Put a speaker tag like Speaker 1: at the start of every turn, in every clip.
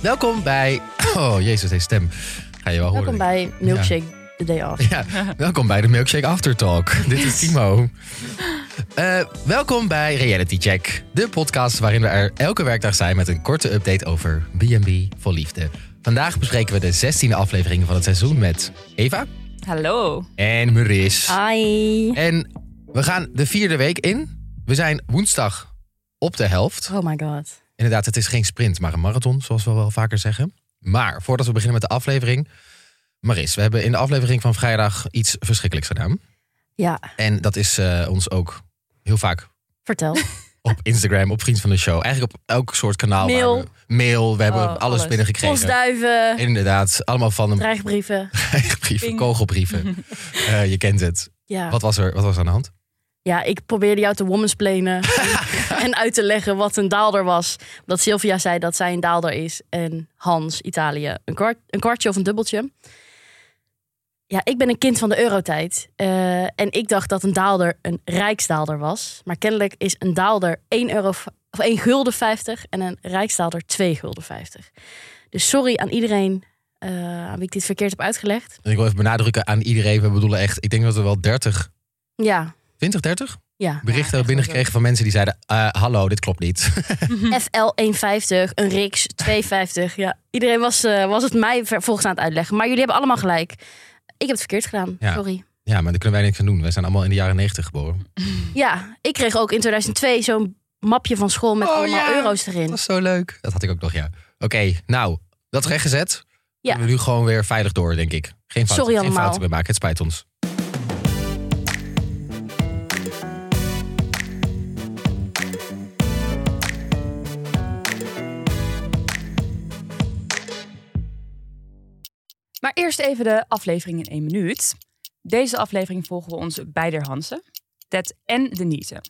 Speaker 1: Welkom bij. Oh, jezus, deze stem. Ga je wel horen.
Speaker 2: Welkom bij Milkshake The Day Off.
Speaker 1: Ja, welkom bij de Milkshake After Talk. Dit is Timo. Eh, welkom bij Reality Check, de podcast waarin we er elke werkdag zijn met een korte update over B&B voor liefde. Vandaag bespreken we de 16e aflevering van het seizoen met Eva
Speaker 3: Hallo.
Speaker 1: en Maurice.
Speaker 2: Ah. Ai.
Speaker 1: En we gaan de vierde week in. We zijn woensdag op de helft.
Speaker 2: Oh my god.
Speaker 1: Inderdaad, het is geen sprint, maar een marathon, zoals we wel vaker zeggen. Maar voordat we beginnen met de aflevering. Maris, we hebben in de aflevering van vrijdag iets verschrikkelijks gedaan.
Speaker 2: Ja,
Speaker 1: En dat is eh, ons ook heel vaak
Speaker 2: vertel.
Speaker 1: op Instagram, op Vriend van de Show. Eigenlijk op elk soort kanaal. waar
Speaker 2: Mail.
Speaker 1: we, mail, we hebben
Speaker 3: Oh,
Speaker 1: alles,
Speaker 3: alles.
Speaker 1: binnengekregen.
Speaker 2: Postduiven,
Speaker 1: Inderdaad, allemaal van hem.
Speaker 2: dreigbrieven.
Speaker 1: brieven,
Speaker 3: Ping.
Speaker 1: kogelbrieven. Eh, je kent het.
Speaker 2: Ja.
Speaker 1: Wat was, er, wat was er aan de hand?
Speaker 2: ja, ik probeerde jou te womansplainen en uit te leggen wat een daalder was. Omdat Sylvia zei dat zij een daalder is en Hans, Italië, een, kwart, een kwartje of een dubbeltje. Ja, ik ben een kind van de eurotijd. eh, en ik dacht dat een daalder een rijksdaalder was. Maar kennelijk is een daalder 1 euro v- of 1 gulden 50 en een rijksdaalder 2 gulden 50. Dus sorry aan iedereen eh, aan wie ik dit verkeerd heb uitgelegd.
Speaker 1: En ik wil even benadrukken aan iedereen. We bedoelen echt, ik denk dat we wel 30,
Speaker 2: Ja,
Speaker 1: 20, 30
Speaker 2: ja.
Speaker 1: berichten hebben binnengekregen van mensen die zeiden... eh, hallo, dit klopt niet. Hm.
Speaker 2: FL 1,50, een Rix 2,50. Ja, iedereen was, eh, was het mij ver- volgens aan het uitleggen. Maar jullie hebben allemaal gelijk. Ik heb het verkeerd gedaan.
Speaker 1: Ja.
Speaker 2: Sorry.
Speaker 1: Ja, maar daar kunnen wij niks aan doen. Wij zijn allemaal in de jaren 90 geboren.
Speaker 2: Ja, ik kreeg ook in 2002 zo'n mapje van school met
Speaker 1: Oh,
Speaker 2: allemaal
Speaker 1: ja.
Speaker 2: euro's erin.
Speaker 1: is zo leuk. Dat had ik ook nog, ja. Oké, nou, dat rechtgezet.
Speaker 2: Ja.
Speaker 1: Kunnen we nu gewoon weer veilig door, denk ik. Geen fouten,
Speaker 2: Sorry
Speaker 1: geen
Speaker 2: allemaal.
Speaker 1: fouten meer maken. Het spijt ons.
Speaker 3: Maar eerst even de aflevering in één minuut. Deze aflevering volgen we onze beide Hansen, Ted en Denise.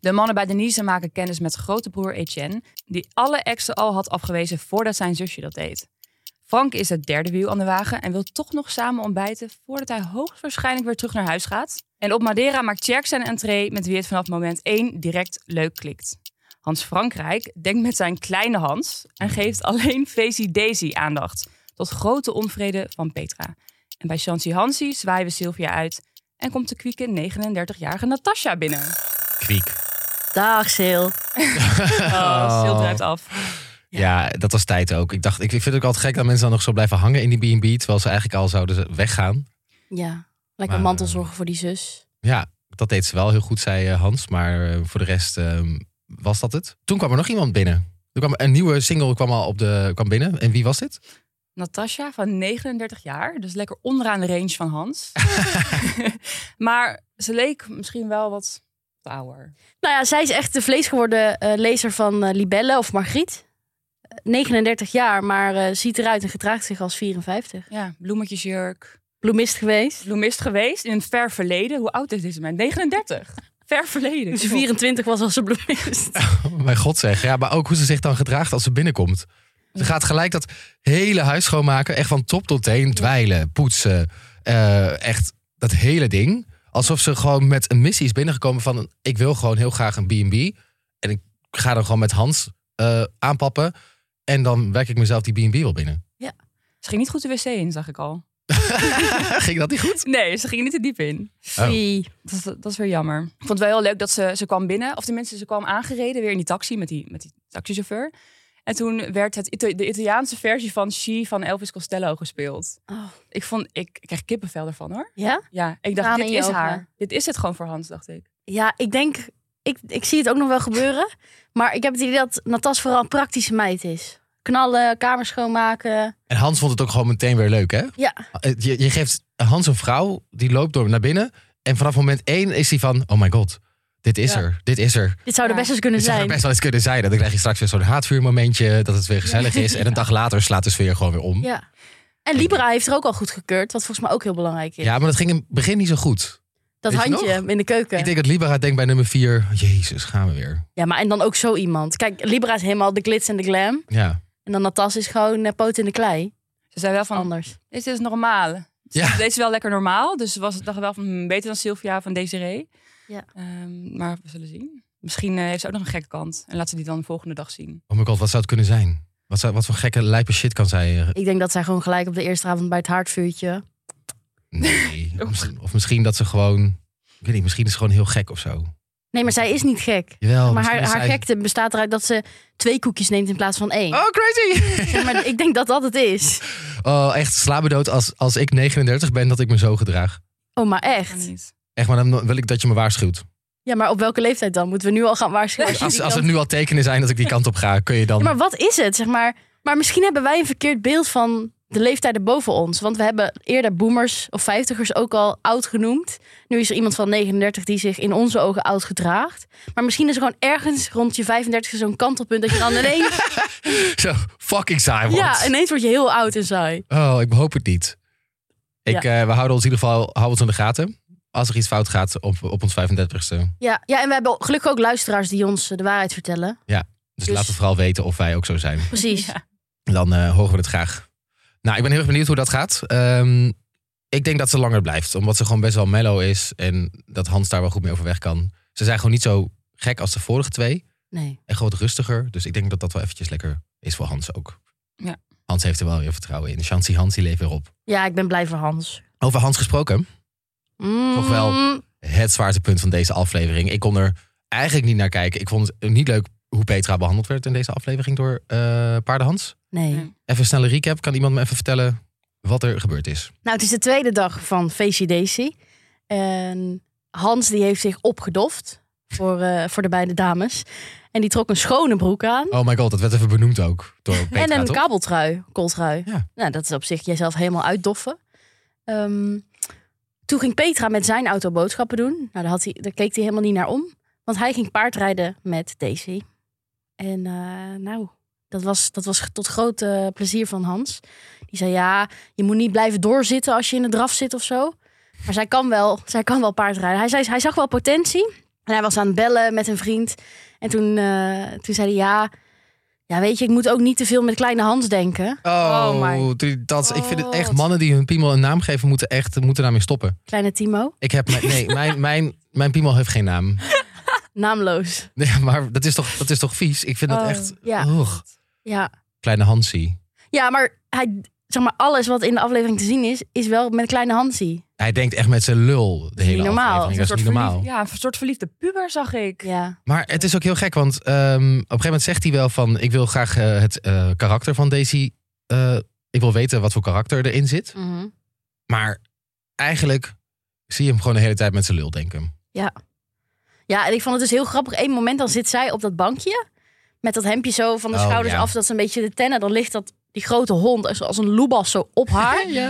Speaker 3: De mannen bij Denise maken kennis met grote broer Etienne, die alle exen al had afgewezen voordat zijn zusje dat deed. Frank is het derde wiel aan de wagen en wil toch nog samen ontbijten voordat hij hoogstwaarschijnlijk weer terug naar huis gaat. En op Madeira maakt Tjerk zijn entree met wie het vanaf moment 1 direct leuk klikt. Hans Frankrijk denkt met zijn kleine Hans en geeft alleen Fezi Daisy aandacht tot grote onvrede van Petra. En bij Chancy Hansi zwaaien we Sylvia uit en komt de kwieke 39-jarige Natasha binnen.
Speaker 1: Kwiek.
Speaker 2: Dag, Sil.
Speaker 3: Oh, Sil druipt af.
Speaker 1: Ja. dat was tijd ook. Ik dacht, ik vind het ook altijd gek dat mensen dan nog zo blijven hangen in die B&B... terwijl ze eigenlijk al zouden weggaan.
Speaker 2: Ja, lekker
Speaker 1: Maar,
Speaker 2: mantel
Speaker 1: eh,
Speaker 2: zorgen voor die zus.
Speaker 1: Ja, dat deed ze wel heel goed, zei eh, Hans. Maar eh, voor de rest eh, was dat het. Toen kwam er nog iemand binnen. Er kwam een nieuwe single kwam al op de, kwam binnen. En wie was dit?
Speaker 3: Natasha van 39 jaar, dus lekker onderaan de range van Hans. maar ze leek misschien wel wat ouder.
Speaker 2: Nou ja, zij is echt de vlees geworden eh, lezer van eh, Libelle of Margriet. Eh, 39 jaar, maar eh, ziet eruit en gedraagt zich als 54.
Speaker 3: Ja, bloemetjesjurk.
Speaker 2: Bloemist geweest.
Speaker 3: Bloemist geweest in het ver verleden. Hoe oud is deze man? 39. Ver verleden.
Speaker 2: Toen ze 24 was, was ze bloemist.
Speaker 1: Oh, mijn god zeg. Ja, maar ook hoe ze zich dan gedraagt als ze binnenkomt. Ze gaat gelijk dat hele huis schoonmaken. Echt van top tot teen. Dweilen, poetsen. eh, echt dat hele ding. Alsof ze gewoon met een missie is binnengekomen van... ik wil gewoon heel graag een B&B. En ik ga dan gewoon met Hans eh, aanpappen. En dan wek ik mezelf die B&B wel binnen.
Speaker 3: Ze ging niet goed de wc in, zag ik al.
Speaker 1: Ging dat niet goed?
Speaker 3: Nee, ze ging niet te diep in.
Speaker 1: Oh.
Speaker 2: Fie.
Speaker 3: Dat, is- dat is weer jammer. Ik vond het wel heel leuk dat ze, ze kwam binnen. Of tenminste, ze kwam aangereden weer in die taxi met die, met die taxichauffeur. En toen werd het, Ita- de Italiaanse versie van She van Elvis Costello gespeeld.
Speaker 2: Oh.
Speaker 3: Ik, vond, ik, ik kreeg kippenvel ervan hoor.
Speaker 2: Ja?
Speaker 3: Ja,
Speaker 2: Tranen
Speaker 3: ik dacht, dit
Speaker 2: in je
Speaker 3: is
Speaker 2: ogen.
Speaker 3: haar. Dit is het gewoon voor Hans, dacht ik.
Speaker 2: Ja, ik denk, ik, ik zie het ook nog wel gebeuren. Maar ik heb het idee dat Natas vooral een praktische meid is. Knallen, kamer schoonmaken.
Speaker 1: En Hans vond het ook gewoon meteen weer leuk, hè?
Speaker 2: Ja.
Speaker 1: Eh, Je, je geeft Hans een vrouw, die loopt door naar binnen. En vanaf moment één is hij van... oh my god, dit is
Speaker 3: Ja.
Speaker 1: er, dit is er.
Speaker 2: Dit zou er
Speaker 3: Ja.
Speaker 2: best eens kunnen
Speaker 1: Het zou er
Speaker 2: zijn.
Speaker 1: best wel eens kunnen zijn. Dan krijg je straks weer zo'n haatvuurmomentje. Dat het weer gezellig is. En een dag later slaat de sfeer gewoon weer om. Ja,
Speaker 2: Ja. En Libra heeft er ook al goed gekeurd, wat volgens mij ook heel belangrijk is.
Speaker 1: maar dat ging in het begin niet zo goed.
Speaker 2: dat
Speaker 1: weet je
Speaker 2: handje in de keuken.
Speaker 1: Ik denk dat Libera denkt bij nummer vier... Jezus, gaan we weer.
Speaker 2: Ja, maar en dan ook zo iemand. Kijk, Libra is helemaal de glitz en de glam.
Speaker 1: Ja.
Speaker 2: En dan Natas is gewoon eh, poot in de klei.
Speaker 3: Ze zei wel van,
Speaker 2: Anders.
Speaker 3: dit is normaal.
Speaker 1: Ja.
Speaker 3: Dus Deze is wel lekker normaal. Dus ze was, dacht wel van, hmm, beter dan Sylvia van Desiree.
Speaker 2: Ja.
Speaker 3: Ehm, maar we zullen zien. Misschien eh, heeft ze ook nog een gekke kant. En laat ze die dan de volgende dag zien.
Speaker 1: Oh my god, wat zou het kunnen zijn? Wat, zou- wat voor gekke lijpe shit kan zij... eh,
Speaker 2: Ik denk dat zij gewoon gelijk op de eerste avond bij het haardvuurtje.
Speaker 1: Nee. Misschien- of misschien dat ze gewoon... Ik weet niet, misschien is ze gewoon heel gek of zo.
Speaker 2: Nee, maar zij is niet gek.
Speaker 1: Jawel.
Speaker 2: maar
Speaker 1: Oh, misschien
Speaker 2: haar,
Speaker 1: is
Speaker 2: haar
Speaker 1: zij-
Speaker 2: gekte bestaat eruit dat ze twee koekjes neemt in plaats van één.
Speaker 1: Oh, crazy!
Speaker 2: Ja, maar ik denk dat dat het is.
Speaker 1: Oh, echt slaap me dood als, als ik 39 ben dat ik me zo gedraag.
Speaker 2: Oh, maar
Speaker 3: Kan
Speaker 2: echt?
Speaker 3: niet.
Speaker 1: Echt, maar dan wil ik dat je me waarschuwt.
Speaker 2: Ja, maar op welke leeftijd dan? Moeten we nu al gaan waarschuwen? je
Speaker 1: Als,
Speaker 2: die
Speaker 1: als het
Speaker 2: kant-
Speaker 1: nu al tekenen zijn dat ik die kant op ga, kun je dan...
Speaker 2: Ja, maar wat is het, zeg maar? Maar misschien hebben wij een verkeerd beeld van de leeftijden boven ons. Want we hebben eerder boomers of vijftigers ook al oud genoemd. Nu is er iemand van 39 die zich in onze ogen oud gedraagt. Maar misschien is er gewoon ergens rond je 35 zo'n kantelpunt... dat je dan ineens,
Speaker 1: Zo, fucking saai wordt.
Speaker 2: ja, ineens word je heel oud en saai.
Speaker 1: Oh, ik hoop het niet. Ik, eh, we houden ons in ieder geval houden ons in de gaten. Als er iets fout gaat op, op ons Dus 35ste.
Speaker 2: Ja, ja, en we hebben gelukkig ook luisteraars die ons eh, de waarheid vertellen.
Speaker 1: Dus,
Speaker 2: Dus-
Speaker 1: laat het vooral weten of wij ook zo zijn.
Speaker 2: Precies.
Speaker 3: Ja.
Speaker 1: Dan eh, horen we het graag. Nou, ik ben heel erg benieuwd hoe dat gaat. Ehm, ik denk dat ze langer blijft. Omdat ze gewoon best wel mellow is. En dat Hans daar wel goed mee overweg kan. Ze zijn gewoon niet zo gek als de vorige twee.
Speaker 2: Nee.
Speaker 1: En gewoon wat rustiger. Dus ik denk dat dat wel eventjes lekker is voor Hans ook.
Speaker 3: Ja.
Speaker 1: Hans heeft er wel weer vertrouwen in. Chancy Hans, die leeft weer op.
Speaker 2: Ja, ik ben blij voor Hans.
Speaker 1: Over Hans gesproken. Toch wel.
Speaker 2: Mm,
Speaker 1: het zwaartepunt van deze aflevering. Ik kon er eigenlijk niet naar kijken. Ik vond het niet leuk hoe Petra behandeld werd in deze aflevering door eh Paardenhans.
Speaker 2: Nee.
Speaker 3: Nee.
Speaker 1: Even een snelle recap. Kan iemand me even vertellen wat er gebeurd is?
Speaker 2: Nou, het is de tweede dag van VCDC. En Hans die heeft zich opgedoft voor, eh, voor de beide dames. En die trok een schone broek aan.
Speaker 1: Oh my god, dat werd even benoemd ook door Petra,
Speaker 2: en een
Speaker 1: toch?
Speaker 2: kabeltrui, kooltrui.
Speaker 1: Ja.
Speaker 2: Nou, dat is op zich jezelf helemaal uitdoffen. Ehm, toen ging Petra met zijn auto boodschappen doen. Nou, daar, had hij, daar keek hij helemaal niet naar om. Want hij ging paardrijden met Daisy. En eh, nou, dat was, dat was tot groot eh, plezier van Hans. Die zei, ja, je moet niet blijven doorzitten als je in de draf zit of zo. Maar zij kan wel, zij kan wel paardrijden. Hij, zei, hij zag wel potentie. En hij was aan het bellen met een vriend. En toen, eh, toen zei hij, ja, ja, weet je, ik moet ook niet te veel met kleine Hans denken.
Speaker 1: Oh,
Speaker 3: Oh my
Speaker 1: die- dat, ik vind het echt
Speaker 3: god.
Speaker 1: mannen die hun piemel een naam geven moeten echt moeten daarmee stoppen.
Speaker 2: Kleine Timo,
Speaker 1: Ik heb mijn, nee, mijn, mijn, mijn piemel heeft geen naam.
Speaker 2: naamloos.
Speaker 1: Nee, maar dat is toch, dat is toch vies? Ik vind dat
Speaker 3: Oh,
Speaker 1: echt.
Speaker 2: ja.
Speaker 1: Oeg.
Speaker 2: Ja,
Speaker 1: kleine Hansie.
Speaker 2: ja maar, hij, zeg maar alles wat in de aflevering te zien is, is wel met kleine Hansie.
Speaker 1: Hij denkt echt met zijn lul de
Speaker 2: is
Speaker 1: hele
Speaker 2: niet normaal.
Speaker 1: aflevering. Dat is niet
Speaker 3: soort
Speaker 1: normaal.
Speaker 3: verliefd- ja, een soort verliefde puber zag ik.
Speaker 2: Ja.
Speaker 1: Maar het is ook heel gek, want ehm, op een gegeven moment zegt hij wel van... ik wil graag eh, het eh, karakter van Daisy... eh, ik wil weten wat voor karakter erin zit.
Speaker 2: Mhm.
Speaker 1: Maar eigenlijk zie je hem gewoon de hele tijd met zijn lul denken.
Speaker 2: Ja, en ik vond het dus heel grappig. Eén moment dan zit zij op dat bankje. Met dat hemdje zo van de
Speaker 1: Oh,
Speaker 2: schouders
Speaker 1: ja.
Speaker 2: af. Dat ze een beetje de tennen. Dan ligt dat, die grote hond als, als een loebas zo op haar.
Speaker 3: Ja.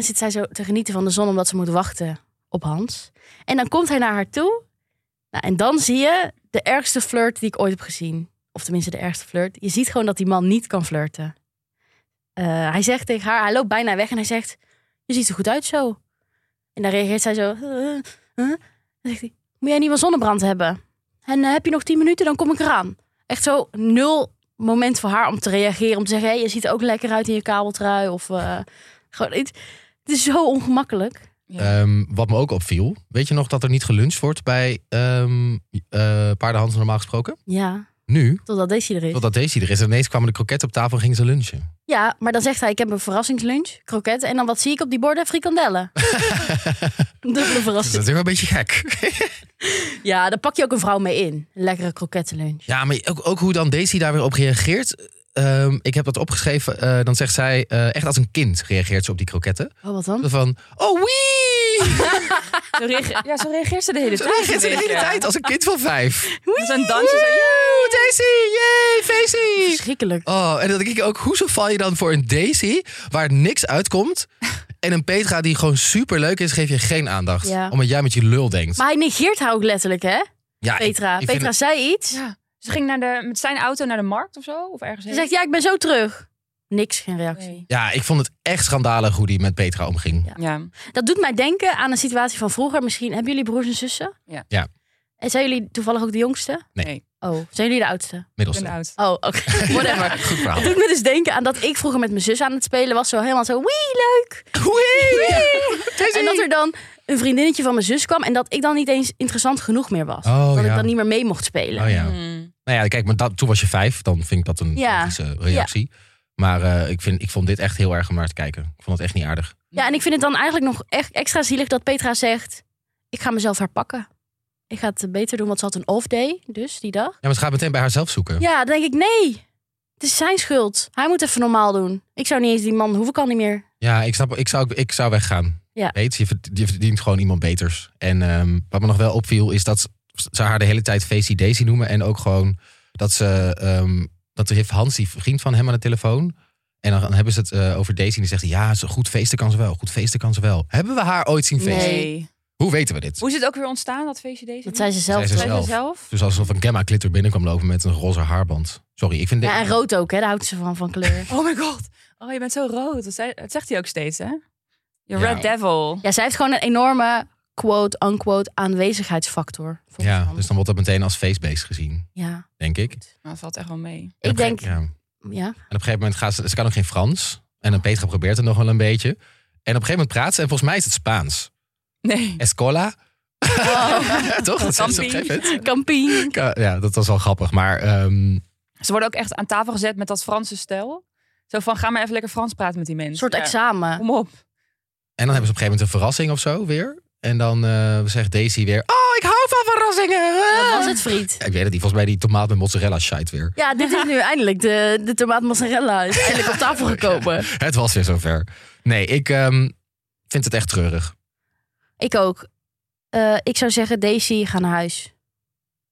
Speaker 2: En dan zit zij zo te genieten van de zon omdat ze moet wachten op Hans. En dan komt hij naar haar toe. Nou, en dan zie je de ergste flirt die ik ooit heb gezien. Of tenminste de ergste flirt. Je ziet gewoon dat die man niet kan flirten. Eh, hij zegt tegen haar, hij loopt bijna weg en hij zegt... Je ziet er goed uit zo. En dan reageert zij zo... "Eh, eh." Dan zegt hij, moet jij niet wel zonnebrand hebben? En eh, heb je nog tien minuten, dan kom ik eraan. Echt zo nul moment voor haar om te reageren. Om te zeggen, hey, je ziet er ook lekker uit in je kabeltrui. Of eh, gewoon iets. Het is zo ongemakkelijk.
Speaker 3: Ja.
Speaker 1: Ehm, wat me ook opviel... weet je nog dat er niet geluncht wordt bij ehm eh, Paardenhans normaal gesproken?
Speaker 2: Ja,
Speaker 1: Nu,
Speaker 2: totdat deze er is.
Speaker 1: totdat Daisy er is... en ineens kwamen de kroketten op tafel en gingen ze lunchen.
Speaker 2: Ja, maar dan zegt hij, ik heb een verrassingslunch, kroketten. En dan wat zie ik op die borden? Frikandellen. Dubbele
Speaker 1: Dus Dat is
Speaker 2: verrassing.
Speaker 1: natuurlijk wel een beetje gek.
Speaker 2: Ja, daar pak je ook een vrouw mee in. Een lekkere krokettenlunch.
Speaker 1: Ja, maar ook, ook hoe dan Daisy daar weer op reageert... Ehm, ik heb dat opgeschreven. eh, dan zegt zij, eh, echt als een kind reageert ze op die kroketten.
Speaker 2: Oh, wat dan?
Speaker 1: Zo van, oh wee!
Speaker 3: Zo reage- ja, zo reageert ze de hele
Speaker 1: Zo
Speaker 3: tijd.
Speaker 1: reageert ze de
Speaker 3: een
Speaker 1: hele
Speaker 3: beetje.
Speaker 1: tijd als een kind van vijf.
Speaker 3: Met zo'n dansje. zo-
Speaker 1: Woe, Daisy, yay, Daisy!
Speaker 2: Verschrikkelijk.
Speaker 1: Oh, en dan denk ik ook, hoezo val je dan voor een Daisy waar niks uitkomt... en een Petra die gewoon super leuk is, geef je geen aandacht.
Speaker 2: Ja.
Speaker 1: Omdat jij met je lul denkt.
Speaker 2: Maar hij negeert haar ook letterlijk, hè?
Speaker 1: ja, ik-
Speaker 2: Petra.
Speaker 1: ik vind
Speaker 2: Petra
Speaker 1: het-
Speaker 2: zei iets.
Speaker 3: Ja. Ze ging naar de, met zijn auto naar de markt of zo. Of ergens
Speaker 2: Ze
Speaker 3: heen.
Speaker 2: zegt, ja, ik ben zo terug. Niks, geen reactie.
Speaker 3: Nee.
Speaker 1: ja, ik vond het echt schandalig hoe die met Petra omging.
Speaker 2: Ja.
Speaker 3: Ja.
Speaker 2: Dat doet mij denken aan een situatie van vroeger. Misschien hebben jullie broers en zussen?
Speaker 3: Ja.
Speaker 1: Ja.
Speaker 2: En zijn jullie toevallig ook de jongste?
Speaker 1: Nee.
Speaker 3: Nee.
Speaker 2: Oh, zijn jullie de oudste?
Speaker 3: Ik
Speaker 1: Middels.
Speaker 3: ben oud.
Speaker 2: Oh, oké. Whatever.
Speaker 1: Goed verhaal.
Speaker 2: Het doet me dus denken aan dat ik vroeger met mijn zus aan het spelen was. Zo helemaal zo, wee, leuk. En dat er dan een vriendinnetje van mijn zus kwam. En dat ik dan niet eens interessant genoeg meer was.
Speaker 1: Oh,
Speaker 2: dat
Speaker 1: ja.
Speaker 2: ik dan niet meer mee mocht spelen.
Speaker 1: Oh ja.
Speaker 3: Hmm.
Speaker 1: Nou ja, kijk, maar dat, toen was je vijf. Dan vind ik dat een
Speaker 2: Ja.
Speaker 1: logische reactie. Maar eh, ik, vind, ik vond dit echt heel erg om naar te kijken. Ik vond het echt niet aardig.
Speaker 2: Ja, en ik vind het dan eigenlijk nog echt extra zielig dat Petra zegt... ik ga mezelf herpakken. Ik ga het eh, beter doen, want ze had een off-day, dus die dag.
Speaker 1: Ja, maar het gaat meteen bij haarzelf zoeken.
Speaker 2: Ja, dan denk ik, nee, het is zijn schuld. Hij moet even normaal doen. Ik zou niet eens, die man hoef ik al niet meer.
Speaker 1: Ja, ik snap. Ik zou, ook- ik zou weggaan.
Speaker 2: Ja.
Speaker 1: Weet, je, verd- je verdient gewoon iemand beters. En ehm, wat me nog wel opviel is dat ze- ze haar de hele tijd Facey Daisy noemen. En ook gewoon dat ze... ehm dat heeft Hans, die vriend van hem, aan de telefoon. En dan, dan hebben ze het eh, over Daisy. En die zegt, ja, ze, goed feesten kan ze wel. Goed feesten kan ze wel. Hebben we haar ooit zien feesten?
Speaker 3: Nee.
Speaker 1: Hoe weten we dit?
Speaker 3: Hoe is het ook weer ontstaan, dat feestje deze?
Speaker 2: Dat zei ze zelf.
Speaker 1: Zei ze zelf.
Speaker 2: toch?
Speaker 3: Zij ze zelf?
Speaker 1: Dus alsof een Gemma Glitter binnenkwam lopen met een roze haarband. Sorry, ik vind dit...
Speaker 2: Ja, en rood ook, hè? daar houdt ze van, van kleur.
Speaker 3: Oh my god. Oh, je bent zo rood. Dat, zei- dat zegt hij ook steeds, hè?
Speaker 1: Ja.
Speaker 3: Je red devil.
Speaker 2: Ja, zij heeft gewoon een enorme quote-unquote aanwezigheidsfactor. volgens
Speaker 1: ja,
Speaker 2: Hans.
Speaker 1: dus dan wordt dat meteen als feestbeest gezien,
Speaker 2: ja.
Speaker 1: denk ik. En
Speaker 3: Maar dat valt echt wel mee.
Speaker 1: op
Speaker 2: Ik
Speaker 1: een
Speaker 2: denk,
Speaker 1: gege- ja.
Speaker 2: ja.
Speaker 1: En op een gegeven moment gaat ze, ze kan ook geen Frans. En dan Petra probeert het nog wel een beetje. En op een gegeven moment praat ze, en volgens mij is het Spaans.
Speaker 3: Nee.
Speaker 1: Escola.
Speaker 2: Oh.
Speaker 1: Toch? Dat zegt ze op een
Speaker 3: Camping.
Speaker 1: gegeven moment.
Speaker 2: Kampien.
Speaker 1: Ka- Ja, dat was wel grappig. Maar ehm,
Speaker 3: Ze worden ook echt aan tafel gezet met dat Franse stijl. Zo van, ga maar even lekker Frans praten met die mensen.
Speaker 2: Een soort
Speaker 3: Ja.
Speaker 2: examen.
Speaker 3: Kom op.
Speaker 1: en dan hebben ze op een gegeven moment een verrassing of zo weer. En dan eh, zegt Daisy weer, oh, ik hou van verrassingen.
Speaker 2: Dat was het, vriend.
Speaker 1: Ja, ik weet het niet, volgens mij die tomaat met mozzarella shite weer.
Speaker 2: Ja, dit is nu eindelijk. De, de tomaat mozzarella is eindelijk op tafel gekomen.
Speaker 1: Het was weer zover. Nee, ik ehm, vind het echt treurig.
Speaker 2: Ik ook. Eh, ik zou zeggen, Daisy, ga naar huis.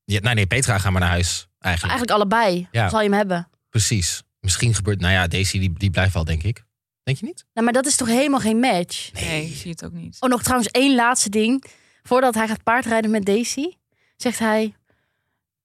Speaker 1: Ja, nou nee, nee, Petra, ga maar naar huis. Eigenlijk.
Speaker 2: Eigenlijk allebei.
Speaker 1: Ja.
Speaker 2: Zal je hem hebben?
Speaker 1: Precies. Misschien gebeurt, nou ja, Daisy die, die blijft wel, denk ik. Denk je niet?
Speaker 2: Nou, maar dat is toch helemaal geen match?
Speaker 3: Nee, nee ik zie het ook niet.
Speaker 2: Oh, nog trouwens één laatste ding. Voordat hij gaat paardrijden met Daisy, zegt hij...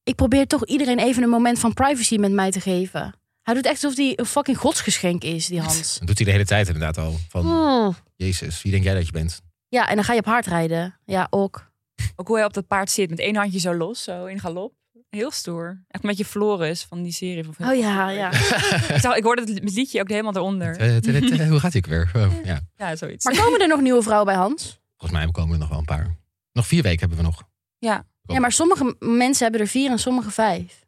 Speaker 2: Ik probeer toch iedereen even een moment van privacy met mij te geven. Hij doet echt alsof hij een fucking godsgeschenk is, die Hans.
Speaker 1: Dat doet hij de hele tijd inderdaad al. Van,
Speaker 2: Oh.
Speaker 1: Jezus, wie denk jij dat je bent?
Speaker 2: Ja, en dan ga je op paardrijden. Ja, ook.
Speaker 3: Ook hoe hij op dat paard zit met één handje zo los, zo in galop. Heel stoer. Echt met je Floris van die serie. Van
Speaker 2: Oh ja, ja.
Speaker 3: ik, zag, ik hoorde het li- liedje ook helemaal eronder.
Speaker 1: Eh, eh, eh, Hoe gaat ik weer? Oh, ja.
Speaker 3: Ja, zoiets.
Speaker 2: Maar komen er nog nieuwe vrouwen bij Hans?
Speaker 1: Volgens mij komen er nog wel een paar. Nog vier weken hebben we nog.
Speaker 2: Ja, maar sommige m- mensen hebben er vier en sommige vijf.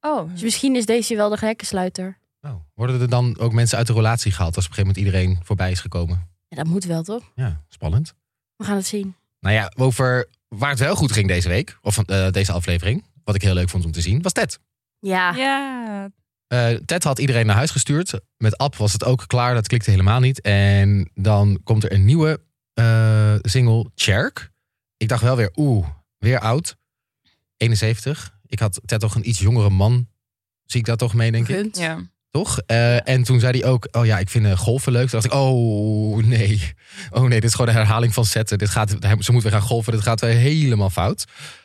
Speaker 3: oh,
Speaker 2: Dus misschien is deze wel de gekkensluiter.
Speaker 1: Oh, worden er dan ook mensen uit de relatie gehaald als op een gegeven moment iedereen voorbij is gekomen?
Speaker 2: Ja, dat moet wel, toch?
Speaker 1: Ja, spannend.
Speaker 2: We gaan het zien.
Speaker 1: Nou ja, over waar het wel goed ging deze week, of eh, deze aflevering, wat ik heel leuk vond om te zien, was Ted.
Speaker 2: Ja,
Speaker 3: ja.
Speaker 1: Eh, Ted had iedereen naar huis gestuurd. Met App was het ook klaar. Dat klikte helemaal niet. En dan komt er een nieuwe eh, single, Cherk. Ik dacht wel weer, oeh, weer oud. 71. Ik had Ted toch een iets jongere man. Zie ik dat toch mee, denk ik?
Speaker 2: Gunt.
Speaker 3: ja.
Speaker 1: Toch? Eh, En toen zei hij ook, oh ja, ik vind eh, golven leuk. Toen dacht ik, oh nee. Oh nee, dit is gewoon een herhaling van zetten. Dit gaat, ze moet weer gaan golven. Dit gaat weer helemaal fout.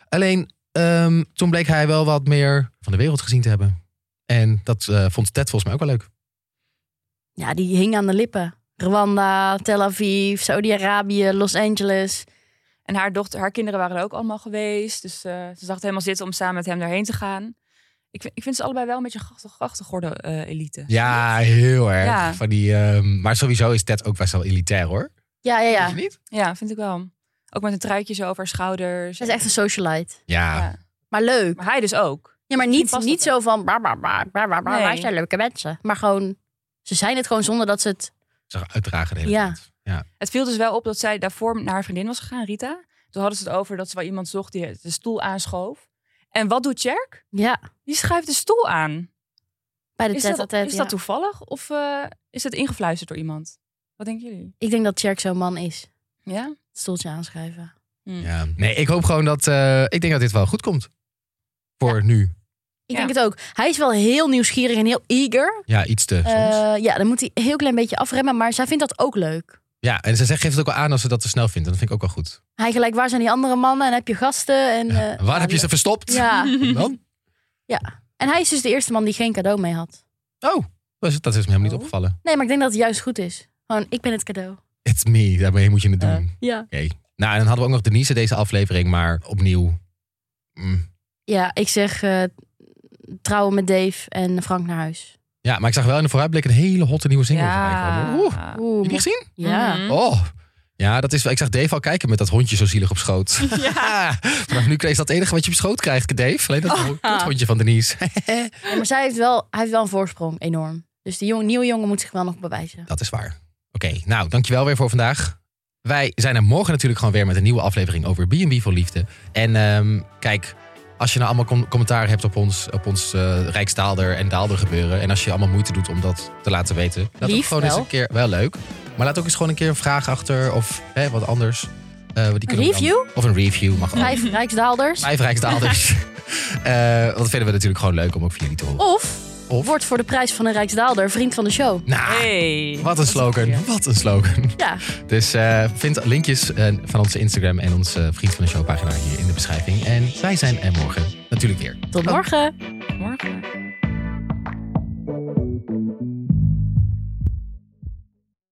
Speaker 1: Alleen, ehm, toen bleek hij wel wat meer van de wereld gezien te hebben. En dat eh, vond Ted volgens mij ook wel leuk.
Speaker 2: Ja, die hing aan de lippen. Rwanda, Tel Aviv, Saudi-Arabië, Los Angeles.
Speaker 3: En haar, dochter, haar kinderen waren er ook allemaal geweest. Dus eh, ze zag het helemaal zitten om samen met hem daarheen te gaan. Ik, vind- ik vind ze allebei wel een beetje grachtig, grachtig geworden eh, elite.
Speaker 1: Ja, heel erg.
Speaker 3: Ja.
Speaker 1: Van die, ehm, maar sowieso is Ted ook best wel elitair hoor.
Speaker 2: Ja, ja, ja.
Speaker 1: Vind je niet?
Speaker 3: Ja, vind ik wel. Ook met een truitje zo over haar schouders.
Speaker 2: Dat is echt een socialite.
Speaker 1: Ja.
Speaker 3: Ja.
Speaker 2: Maar leuk.
Speaker 3: Maar hij dus ook.
Speaker 2: Ja, maar
Speaker 3: Misschien
Speaker 2: niet,
Speaker 3: past
Speaker 2: niet
Speaker 3: dat
Speaker 2: zo van... Bah, bah, bah, bah, bah, bah,
Speaker 3: Nee.
Speaker 2: Wij zijn leuke mensen. Maar gewoon... Ze zijn het gewoon zonder dat ze het...
Speaker 1: Zag uitdragen de hele
Speaker 2: Ja.
Speaker 1: tijd. Ja.
Speaker 3: Het viel dus wel op dat zij daarvoor naar haar vriendin was gegaan, Rita. Toen hadden ze het over dat ze wel iemand zocht die de stoel aanschoof. En wat doet Cherk?
Speaker 2: Ja,
Speaker 3: Die schuift de stoel aan.
Speaker 2: bij de
Speaker 3: Is
Speaker 2: tet
Speaker 3: dat,
Speaker 2: tet,
Speaker 3: is
Speaker 2: ja.
Speaker 3: dat toevallig of eh, is dat ingefluisterd door iemand? Wat denken jullie?
Speaker 2: Ik denk dat Cherk zo'n man is.
Speaker 3: Ja?
Speaker 2: Het stoeltje aanschrijven.
Speaker 1: Ja. Nee, ik hoop gewoon dat, eh, ik denk dat dit wel goed komt. Voor nu.
Speaker 2: Ik
Speaker 3: Ja.
Speaker 2: denk het ook. Hij is wel heel nieuwsgierig en heel eager.
Speaker 1: Ja, iets te soms.
Speaker 2: Eh, ja, dan moet hij een heel klein beetje afremmen. Maar zij vindt dat ook leuk.
Speaker 1: Ja, en ze zegt, geeft het ook wel aan als ze dat te snel vindt. Dat vind ik ook wel goed.
Speaker 2: Hij gelijk, waar zijn die andere mannen? En heb je gasten? En, eh,
Speaker 1: Waar heb je ze verstopt?
Speaker 2: Ja,
Speaker 1: Dan?
Speaker 2: en hij is dus de eerste man die geen cadeau mee had.
Speaker 1: Oh, dat is, dat is me helemaal niet
Speaker 3: Oh.
Speaker 1: opgevallen.
Speaker 2: Nee, maar ik denk dat het juist goed is. Gewoon, ik ben het cadeau.
Speaker 1: It's me, daarmee moet je het doen.
Speaker 3: Ja.
Speaker 1: Oké.
Speaker 2: Ja.
Speaker 1: Nou, en dan hadden we ook nog Denise deze aflevering, maar opnieuw. mm.
Speaker 2: Ja, ik zeg eh, trouwen met Dave en Frank naar huis.
Speaker 1: Ja,
Speaker 3: Ah.
Speaker 1: maar ik zag wel in de vooruitblik een hele hotte nieuwe single voorbij komen. Oeh, heb
Speaker 3: Ja.
Speaker 2: Oeh,
Speaker 1: je die gezien?
Speaker 2: ja.
Speaker 3: Mhm.
Speaker 1: Oh. Ja, dat is, wel- ik zag Dave al kijken met dat hondje zo zielig op schoot. Ja. Vanaf nu is dat het enige wat je op schoot krijgt, Dave. Alleen dat hond- dat hondje van Denise.
Speaker 2: Ja, maar zij heeft wel, hij heeft wel een voorsprong, enorm. Dus die jong- nieuwe jongen moet zich wel nog bewijzen.
Speaker 1: Dat is waar. Oké, nou, dankjewel weer voor vandaag. Wij zijn er morgen natuurlijk gewoon weer met een nieuwe aflevering over B&B voor Liefde. En ehm, kijk, als je nou allemaal com- commentaar hebt op ons, op ons eh, Rijksdaalder en Daalder gebeuren... en als je allemaal moeite doet om dat te laten weten... laat ook
Speaker 2: Lief
Speaker 1: gewoon eens
Speaker 2: wel.
Speaker 1: een keer... Wel leuk. Maar laat ook eens gewoon een keer een vraag achter of hè, wat anders. Eh, die kunnen we dan-
Speaker 2: review?
Speaker 1: of een review mag ook.
Speaker 2: Vijf Rijksdaalders.
Speaker 1: Vijf Rijksdaalders. Eh, dat vinden we natuurlijk gewoon leuk om ook van jullie te horen.
Speaker 2: Of
Speaker 1: Of?
Speaker 2: wordt voor de prijs van een Rijksdaalder vriend van de show.
Speaker 1: Nou,
Speaker 3: Hey.
Speaker 1: wat een slogan.
Speaker 3: goeie.
Speaker 1: Wat een slogan.
Speaker 2: Ja,
Speaker 1: Dus eh, vind linkjes eh, van onze Instagram en onze eh, Vriend van de Show pagina hier in de beschrijving. En wij zijn er morgen natuurlijk weer.
Speaker 2: tot morgen.
Speaker 3: Morgen.